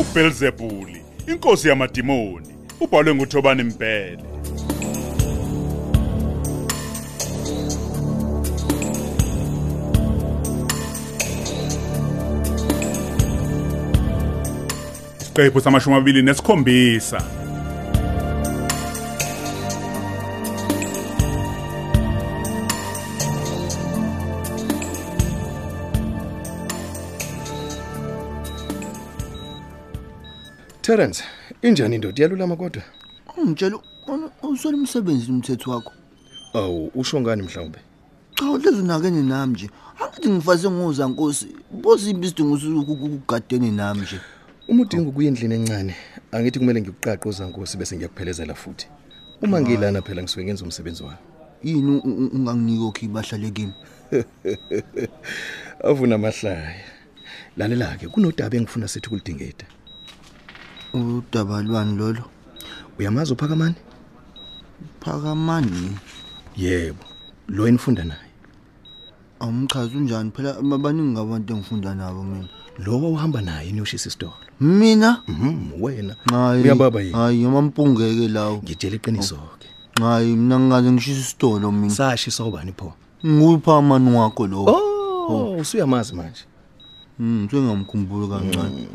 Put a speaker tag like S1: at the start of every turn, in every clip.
S1: uBelzebuli inkosi yamadimoni ubhalwe nguThobani Mbhele isiqephu samashumi amabili nesikhombisa
S2: Terence, injani indoda iyalulama kodwa?
S3: Ungitshela u- usole umsebenzi umthetho wakho.
S2: Awu, usho ngani mhlawumbe?
S3: Cha ulezi nakene nami nje. Angithi ngifase ngoza nkosi. Bozi imbi isidingo ukugadeni nami nje.
S2: Uma udinga ukuya endlini encane, angithi kumele ngikuqaqe uzankosi bese ngiyakuphelezela futhi. Uma ngilana phela ngisuke ngenza umsebenzi wami.
S3: Yini u- u- unganginiki okhi bahlale kimi?
S2: Avuna amahlaya. Lalela ke kunodaba engifuna sithi kulidingida.
S3: Udaba lwani lolo?
S2: Uyamazi uphakamani?
S3: Phakamani.
S2: Yebo. Lo enifunda naye.
S3: Awumchazi unjani phela abaningi ngabantu engifunda nabo mina.
S2: Lo wawuhamba naye niyoshisa isidolo.
S3: Mina?
S2: Mhm, wena.
S3: Hayi. Ah.
S2: Uyababa yini?
S3: Hayi yomampungeke lawo.
S2: Ngitshela iqiniso ke.
S3: Hayi mina ngingaze ngishise isitolo
S2: Oh.
S3: mina.
S2: Sashisa ubani pho?
S3: Nguphamani wakho lo.
S2: Oh, usuyamazi manje.
S3: Mm, sengamkhumbula kancane.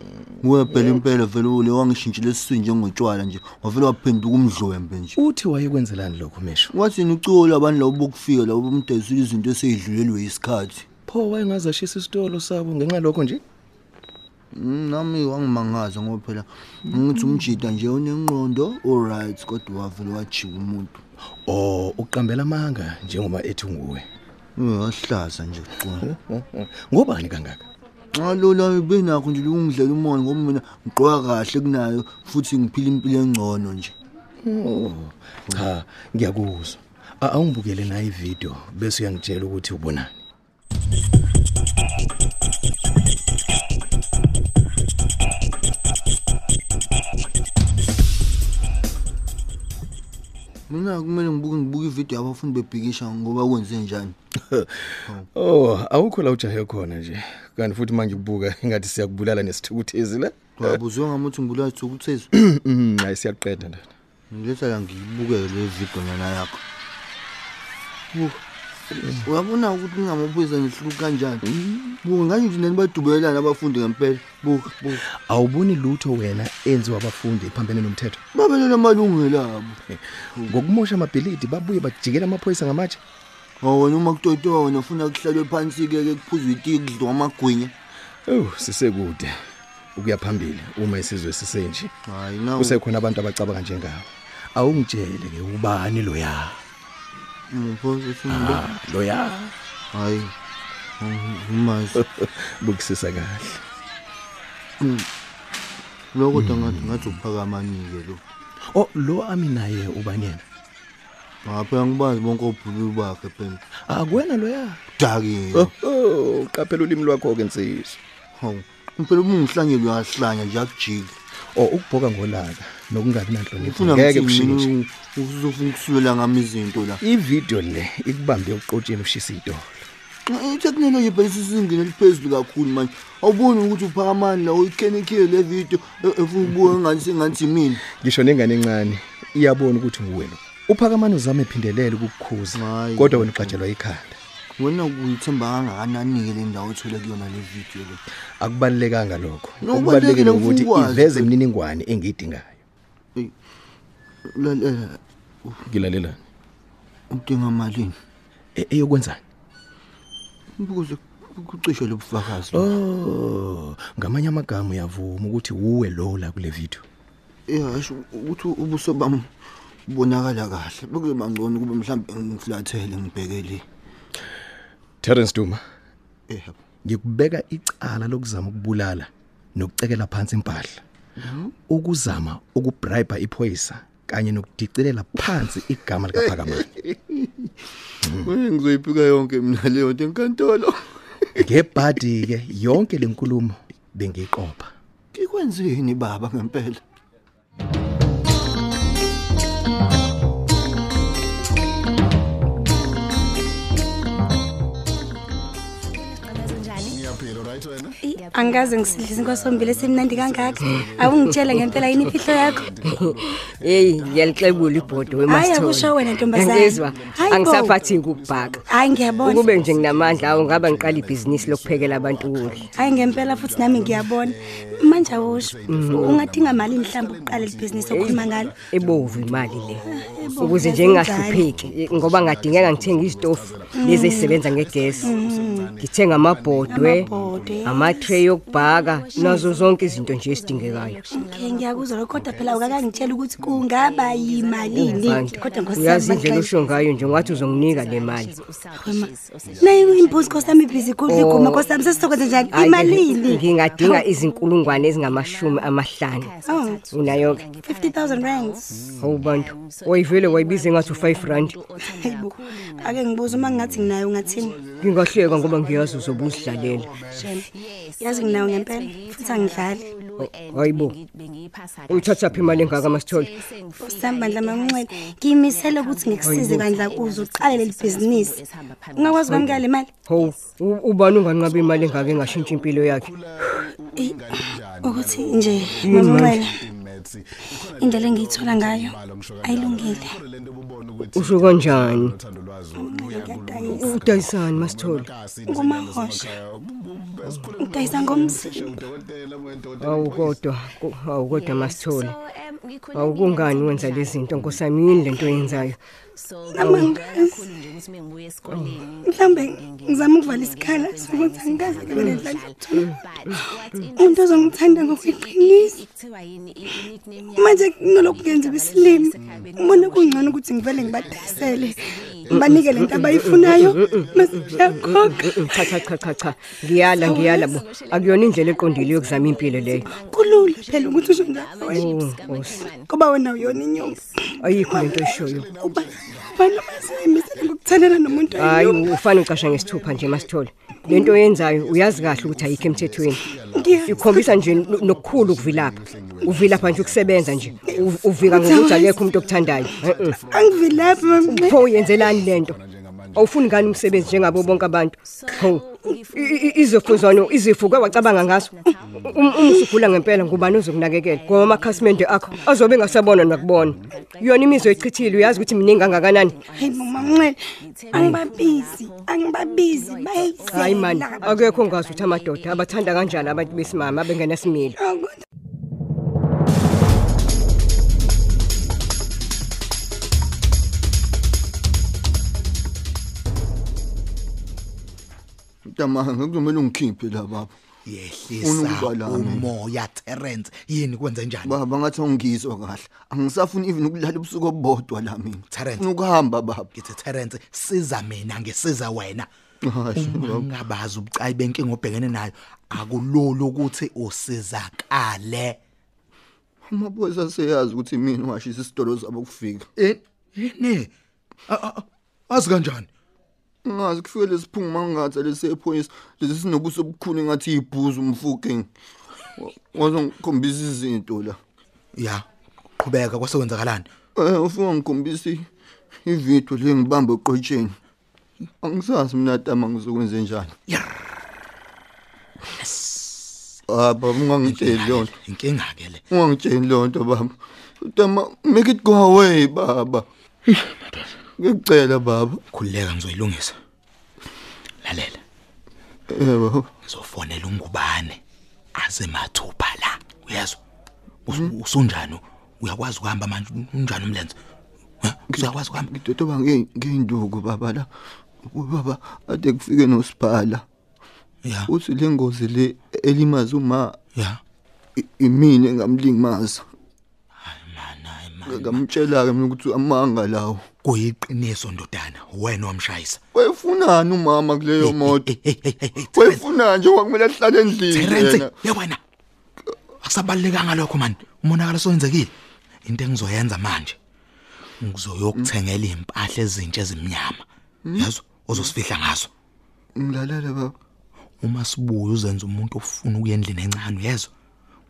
S3: Ngoba phela impela vele ule wangishintshile sisinje ngotshwala nje. Wavele waphenduka umdlwembe nje.
S2: Uthi wayekwenzelani lokho mesho?
S3: Wathi uculo abantu labo bokufika labo bomdezile izinto esezidlulelwe isikhathi.
S2: pho wayengazashisa isitolo sabo ngenxa lokho nje
S3: Mm, Nami wangimangaza ngoba phela ngithi umjida nje unengqondo alright kodwa wavele wajika umuntu.
S2: o uqambela amanga njengoba ethi nguwe
S3: Uyahlaza nje uculo.
S2: ngobani kangaka
S3: Xa lola benakho nje ukungidlela umona ngoba mina ngiqoka kahle kunayo futhi ngiphila impilo engcono nje.
S2: Oh, cha ngiyakuzwa A- awungibukele naye ividiyo bese uyangitshela ukuthi ubonani
S3: mina kumele ngibuke ngibuke ividiyo yabafundi bebhikisha ngoba kwenze njani
S2: oh awukho la ujahe khona nje kanti futhi manje kubuka ingathi siyakubulala nesithukuthezi la
S3: wabuzwe ngami ukuthi ngibulala isithukuthezi
S2: Mm, hayi siyaqeda ndana
S3: ngiletha la ngiyibukeke le vidiyo nana yakho Uh, uyabona ukuthi ngingamaphoyisa ngihluku kanjani buka ngani nje nani badubelelana abafundi ngempela buka buka
S2: awuboni lutho wena enziwa abafundi ephambene nomthetho
S3: babelela amalungelo abo
S2: ngokumosha amabhilidi babuye bajikela amaphoyisa ngamatshe
S3: Oh, wena uma kutotowa wena ufuna kuhlalwe phansi-ke ke kuphuzwe itiye kudliwa amagwinya
S2: Oh, sisekude ukuya phambili uma isizwe sisenje.
S3: hayi nawo
S2: Kusekhona abantu abacabanga njengawe. Awungitshele ke ubani lo ya?
S3: ngiphosa esimile
S2: Lo ya.
S3: hayi ngimazi
S2: Bukusisa kahle.
S3: lo kodwa ngathi ngathi uphakamanike lo
S2: Oh, lo ami naye ubani yena?
S3: ngaphela ngibazi bonke obhululu bakhe phela
S2: Akwena lo ya.
S3: daki
S2: Oh, uqaphela ulimi lwakho ke nsizwe.
S3: hawu phela uma ungihlanyela uyahlanya nje akujiki
S2: Oh, ukubhoka ngolaka nokungabi nanhlonipho
S3: ufuna
S2: ngeke
S3: ngithini?
S2: kushintshe.
S3: uzofuna ukusulela ngami izinto la
S2: Ividiyo le ikubambe uqotsheni ushisa idolo.
S3: ithekhinoloji phela isisingene eliphezulu kakhulu manje awuboni ukuthi uphakamani la uyikhenekhile le vidiyo efuna ukubuka engani sengathi yimina
S2: Ngisho nengane encane iyabona ukuthi nguwe lo. Uphakamani uzame iphindelele ukukukhuza
S3: Hayi.
S2: kodwa wena uqatshelwa ikhanda.
S3: wena uyithemba kangakanani-ke le ndawo othole kuyona le vidiyo le
S2: akubalulekanga lokho
S3: No,
S2: okubalulekile
S3: kubalulekile
S2: ukuthi
S3: ngifuna ukwazi.
S2: iveze imininingwane engiyidingayo
S3: lalela
S2: ngilalelani
S3: udinga malini
S2: E, eyokwenzani
S3: ukuze kucishe lo bufakazi lo.
S2: oh ngamanye amagama uyavuma ukuthi wuwe lola kule video
S3: yasho ukuthi ubuso bami bonakala kahle bekuzoba ngcono kube mhlawumbe ngiflathele ngibhekele Eh,
S2: terence duma
S3: yebo
S2: ngikubeka icala lokuzama ukubulala nokucekela phansi impahla ukuzama ukubribe iphoyisa kanye nokudicilela phansi igama likaPhakamani
S3: ngizoyiphika yonke mina leyo nto enkantolo
S2: ngebhadi ke yonke lenkulumo bengiqopha
S3: ikwenzeni baba ngempela
S4: Ngiyaphila right wena? angikaze ngisidlise inkosombile esemnandi kangaka awungitshele ngempela yini imfihlo yakho
S5: heyi ngiyalixebula ibhodo
S4: hayi akusho wena ntombazane
S5: angisaphathingi ukubhaka
S4: hayi ngiyabona
S5: ukube nje nginamandla awu ngaba ngiqala ibhizinisi lokuphekela abantu ukudla
S4: hayi ngempela futhi nami ngiyabona manje awusho
S5: Mm.
S4: ungadinga malini mhlawumbe ukuqala eli bhizinisi okhuluma ngalo
S5: ebovu imali le
S4: Ah, Ebovu,
S5: Eh, ukuze nje
S4: yazi
S5: ngingahlupheki eh, ngoba ngadingeka ngithenge izitofu
S4: Mm.
S5: lezi ezisebenza ngegesi ngithenge amabhodwe
S4: Amabhodwe,
S5: amatreyi okubhaka nazo zonke izinto nje ezidingekayo
S4: okay ngiyakuzwa lokho kodwa phela ukakangitshela ukuthi kungaba yimalini
S5: Kanti,
S4: kodwa nkosi
S5: Mm, uyazi indlela
S4: yami
S5: usho ngayo nje ngathi uzonginika le mali
S4: nayo imbuzi nkosi yami ibhizi kudla iguma
S5: Oh.
S4: nkosi yami sesitokwenze njani
S5: Hhayi-ke,
S4: imalini
S5: ngingadinga izinkulungwane ezingamashumi amahlanu
S4: oh
S5: unayo-ke
S4: 50000 rands
S5: hawu bantu wayivele wayibiza engathi u-five rand
S4: hayibo ake ngibuza uma ngingathi nginayo ungathini
S5: ngingahleka ngoba ngiyazi uzobe uzidlalela
S4: Shame. yazi nginayo ngempela futhi angidlali
S5: hayibo uyithatha phi imali engaka masithole
S4: sambandla manxele ngiyimisele ukuthi ngikusize kandla kuze uqale leli bhizinisi ungakwazi ukwamukela le mali
S5: hawu u- ubani unganqaba imali engaka engashintshi impilo yakhe
S4: Eh, ukuthi nje manxele indlela engiyithola ngayo ayilungile
S5: usho kanjani
S4: ngiyadayisa
S5: udayisani masithole
S4: ngumahosha ngidayisa ngomzimba
S5: hawu kodwa ku- hawu kodwa masithole hawu kungani wenza le zinto nkosami yini le nto oyenzayo
S4: Nama ngiyazi. mhlawumbe ngizama ukuvala isikhala sokuthi angikaze kube nendlela umuntu ozongithanda ngokweqiniso manje kunoloku ngenza besilimi ubona kungcono ukuthi ngivele ngibadayisele banike lento abayifunayo mase ngiyakhokha
S5: Mm, cha cha cha cha cha ngiyala ngiyala bo akuyona indlela eqondile yokuzama impilo leyo
S4: kulula phela ukuthi usho njalo wena.
S5: Oh, Nkosi,
S4: ngoba wena uyona inyoni
S5: ayikho lento eshoyo
S4: ubani umazimisele ngokuthandana nomuntu
S5: hayi
S4: oyinyoni.
S5: ufane ucasha ngesithupha nje masithole le nto oyenzayo uyazi kahle ukuthi ayikho emthethweni
S4: Ngiyazi.
S5: ikhombisa nje no- nokukhulu ukuvilapha uvilapha nje ukusebenza nje U- uvika ngokuthi akekho umuntu okuthandayo Eh, eh.
S4: angivilaphi mamnxe
S5: pho uyenzelani le nto awufuni ngani umsebenzi njengabo bonke abantu ho izifunzwano izifo ke wacabanga ngaso Um- uma usugula ngempela ngubani ozokunakekela ngoba amakhasimende akho azobe engasabona nakubona yona imizwa ichithile uyazi ukuthi miningi angakanani
S4: hayi mamanxele angibabizi angibabizi bayayisela
S5: hayi mani akekho ngazi ukuthi amadoda abathanda kanjani abantu besimama abengenasimilo
S4: Oh,
S3: mntamanga ngekuzomele ungikhiphe la baba
S2: yehlisa
S3: Unokubalana.
S2: umoya terence yini kwenze njani
S3: baba ngathi ungizwa kahle angisafuni even ukulala ubusuku obodwa la mina
S2: Terence.
S3: Ngifuna ukuhamba baba
S2: ngithi terence siza mina ngisiza wena
S3: Hayi,
S2: Uma ungabazi ubucayi benkinga obhekene nayo akulula ukuthi usizakale
S3: amabozi aseyazi ukuthi mina washisa isitolo zabo kufika
S2: Eh, yini A- a- a- azi kanjani
S3: ngazi kufike lesiphungu mangatha lesephoyisa lesi sinobuso obukhulu engathi ibhuzu umfuking wazongikhombisa izinto la
S2: ya qhubeka kwasekwenzakalani
S3: um ufike ngikhombisa ividiyo le ngibambe eqotsheni angisazi mina tama ngizokwenze njani ah baba ungangitsheli leyo nto
S2: inkinga ke le
S3: ungangitsheli leyo nto baba tama make it go away baba ngikucela baba
S2: khululeka ngizoyilungisa lalela
S3: Eh, baba
S2: ngizofonela ungubane aze mathupha la uyezwa Us- usunjani uyakwazi ukuhamba manje unjani umlenze Eh, usakwazi ukuhamba
S3: ngidodoba nge- ngey'nduku baba la ubaba ade kufike nosiphala
S2: ya
S3: uthi le ngozi le elimazi uma
S2: ya
S3: i- imina engamlimaza
S2: mana hayi mana
S3: ngamtshela-ke mina ukuthi amanga lawo
S2: kuyiqiniso ndodana wena wamshayisa
S3: wayefunani umama kuleyo moto
S2: Hey, hey, hey, hey, hey, Terence,
S3: wayefunani njengoba kumele ahlale endlini
S2: Terence
S3: yena
S2: yekwena akusabalulekanga lokho mani umonakalo soyenzekile into engizoyenza manje ngizoyokuthengela impahla ezintsha ezimnyama yazo ozosifihla ngazo
S3: ngilalele baba
S2: uma sibuye uzenze umuntu ofuna ukuya endlini encane yezo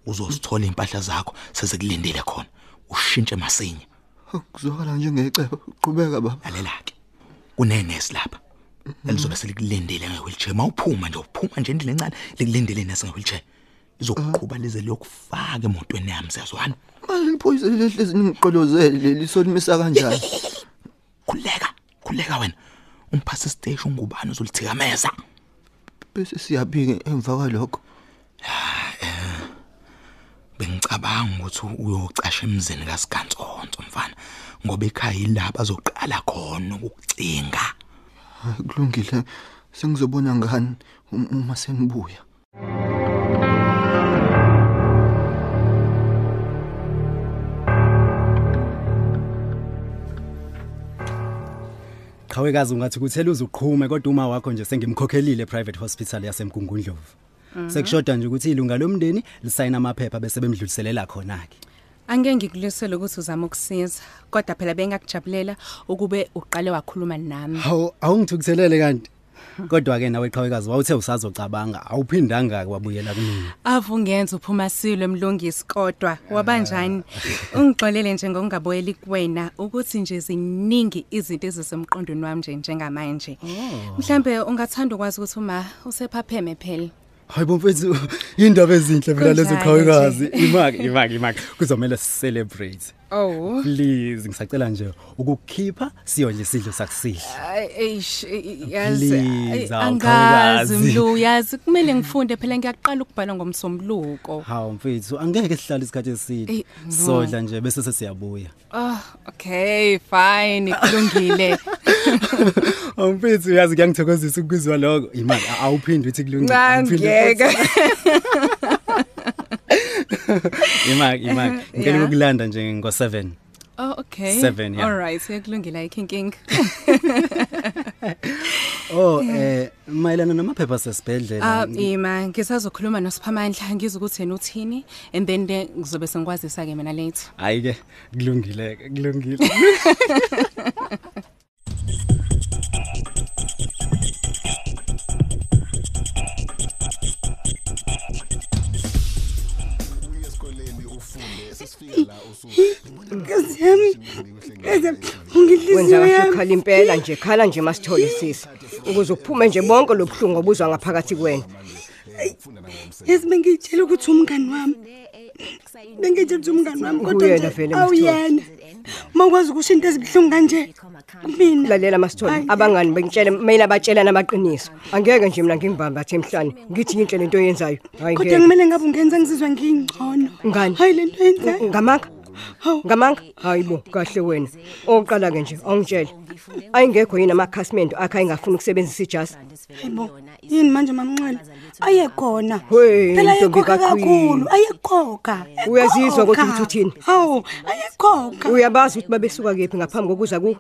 S2: uzosithola impahla zakho sezikulindile khona ushintshe masinya
S3: kuzwakala njengecebo qhubeka baba
S2: lalela ke kunenesi lapha
S6: elizobe selikulendele ngewheelchair uma uphuma nje uphuma nje endlini encane likulendele nasi ngewheelchair lizokuqhuba lize liyokufaka emotweni yami siyazwana
S3: manje liphoyisa lelehlezi ningiqolozele leli solimisa kanjani
S6: khululeka khululeka wena umphasi siteshi ungubani uzolithikameza
S3: bese siyabi-ke emva kwalokho
S6: bengicabanga ukuthi uyocasha emzini kasigantsonto mfana ngoba ekhaya yilapha azoqala khona ukucinga
S3: Hhayi, kulungile sengizobona ngani um- uma senibuya
S7: qhawekazi ungathi kuthela uzuqhume kodwa uma wakho nje sengimkhokhelile private hospital yasemgungundlovu sekushoda nje ukuthi ilunga lomndeni lisayina amaphepha bese bemdluliselela khona-ke
S8: Angeke ngikulisele ukuthi uzama ukusiza kodwa phela bengakujabulela ukube uqale wakhuluma nami.
S7: hawu awungithukuthelele kanti kodwa-ke nawe qhawekazi wawuthe usazocabanga awuphindanga-ke wabuyela kumina
S8: Avungenza uphuma silo emlungisi kodwa wabanjani? Ungixolele nje ngokungabuyeli kuwena ukuthi nje ziningi izinto ezisemqondweni wami nje njengamanje.
S7: Oh.
S8: Mhlambe ungathanda ukwazi ukuthi uma usephapheme phela.
S7: hayi bomfethu iy'ndaba ezinhle phela lezi
S8: Kunjalo
S7: qhawekazi
S8: nje.
S7: imaki imaki imaki kuzomele sicelebrate
S8: Oh.
S7: please ngisacela nje ukukukhipha siyodla isidlo sakusihle
S8: Ah. eish eh,
S7: Please,
S8: yazi
S7: awu,
S8: angazi
S7: Khawukazi.
S8: mlu yazi kumele ngifunde phela ngiyaqala ukubhala ngomsombuluko
S7: hawu mfethu angeke sihlale isikhathi eside
S8: Eyi,
S7: sodla nje bese sesiyabuya
S8: oh okay fine kulungile
S7: hawu mfethu uyazi kuyangithokozisa ukukuzwa lokho imali a- awuphinde uthi kulungile imaki imaki ngicela
S8: Yeah.
S7: ukukulanda nje ngo-seven
S8: oh okay
S7: Seven, yeah.
S8: all right sekulungile ikinkinga
S7: oh um mayelana namaphepha asesibhedlela
S8: um ima ngisazokhuluma nosiphamandla ngizwe ukuthi yena uthini and then eh, ngizobe sengikwazisa-ke mina later
S7: hhayi-ke kulungileke kulungile
S4: nkosi yami nkosi yami ngidliziwe
S5: wenza kahle
S4: yami
S5: ukhala impela nje khala nje masithole sisi ukuze uphume nje bonke lobuhlungu obuzwa ngaphakathi kwena
S4: yazi bengiyitshela ukuthi umngani wami bengiyitshela ukuthi umngani wami kodwa
S5: Uyena
S4: nje
S5: vele
S4: awuyena uma ukwazi ukusho into ezibuhlungu kanje mina
S5: lalela masithole abangani bengitshele kumele abatshelana amaqiniso angeke nje mina ngingibambe athe emhlane ngithi yinhle lento oyenzayo hayi
S4: kodwa
S5: ngeke
S4: kumele ngabe ungenza ngizizwa ngiyingcono
S5: Ngani?
S4: hayi le nto yenzayo
S5: ngamanga ngamanga hayi bo kahle wena oqala-ke nje awungitshele ayingekho yini amakhasimende akhe ayengafuni ukusebenzisa ijasi
S4: Yebo. yini manje mamnxele ayekhona
S5: Hey,
S4: phela
S5: ntombi
S4: ayekhokha
S5: kaQhwi.
S4: kakhulu ayekhokha
S5: Uyazizwa ukuthi
S4: ekhokha.
S5: uthuthini?
S4: hawu ayekhokha
S5: uyabazi ukuthi babesuka kephi ngaphambi kokuza kuwe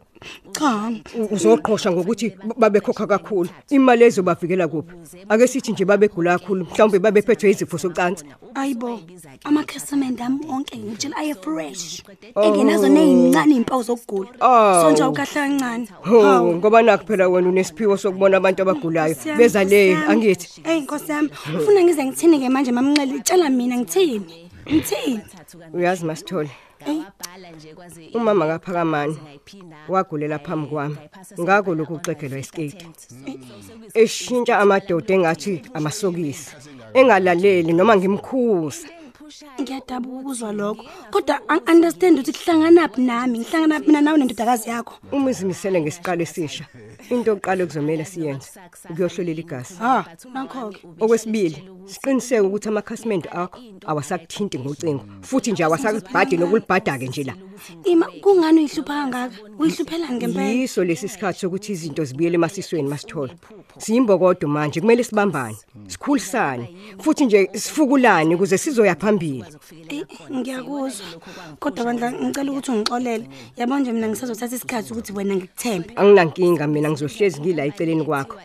S4: cha
S5: U- uzoqhosha ngokuthi b- babekhokha kakhulu imali ezobavikela kuphi ake sithi nje babegula kakhulu mhlawumbe babephethwe izifo socansi
S4: ayibo amakhasimende ami onke ngitshela aye-fresh engenazo neyincane iy'mpawu zokugula
S5: Oh.
S4: so nje awukahle kancane
S5: ho ngoba nakho phela wena unesiphiwo sokubona abantu abagulayo beza le angithi
S4: eyi nkosi yami ufuna ngize ngithini-ke manje mamnxele tshela mina ngithini ngithini
S5: uyazi masithole umama kaphakamani wagulela phambi kwami ngako lokhu kuxegelwa isiketi eshintsha amadoda engathi amasokisi engalaleli noma ngimkhuza
S4: ngiyadabuka ukuzwa lokho kodwa angi-understand ukuthi kuhlanganaphi nami ngihlangana phi mina nawe nendodakazi yakho
S5: uma uzimisele ngesiqalo esisha into oqale kuzomele siyenze ukuyohlolela igazi
S4: ha nakho-ke
S5: okwesibili siqiniseke ukuthi amakhasimende akho awasakuthinti ngocingo futhi nje awasakubhadi nokulibhada-ke nje la
S4: ima kungani uyihlupha kangaka uyihluphelani ngempela
S5: yiso lesi sikhathi sokuthi izinto zibuyele emasisweni masithole siyimbokodo manje kumele sibambane sikhulisane futhi nje sifukulane ukuze sizoya phambili
S4: Eh, ngiyakuzwa kodwa bandla ngicela ukuthi ungixolele yabo nje mina ngisazothatha isikhathi ukuthi wena ngikuthembe
S5: anginankinga mina ngizohlezi ngila eceleni kwakho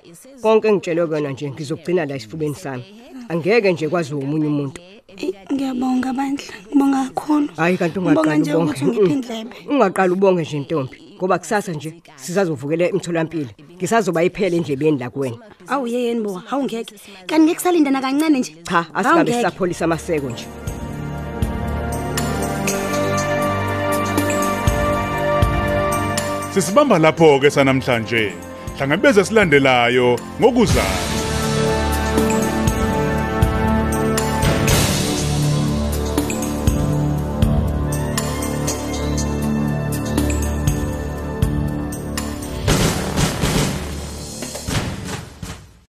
S5: konke engitshelwe kona nje ngizokugcina la esifubeni sami angeke nje kwaziwe omunye umuntu
S4: Eh, ngiyabonga bandla ngibonga kakhulu
S5: hayi kanti
S4: ngibonga
S5: ungaqali
S4: nje
S5: ubonge
S4: ukuthi ungiphe indlebe
S5: ungaqali ubonge nje ntombi ngoba kusasa nje sisazovukela emtholampilo ngisazoba iphele endlebeni la kuwena
S4: awu yeyeni bo hawu ngeke kanti ngeke salinda nakancane nje
S5: cha
S4: Hawu,
S5: asikabe
S4: ngeke.
S5: sisapholisa amaseko nje
S1: sisibamba lapho-ke sanamhlanje hlangabeze silandelayo ngokuzayo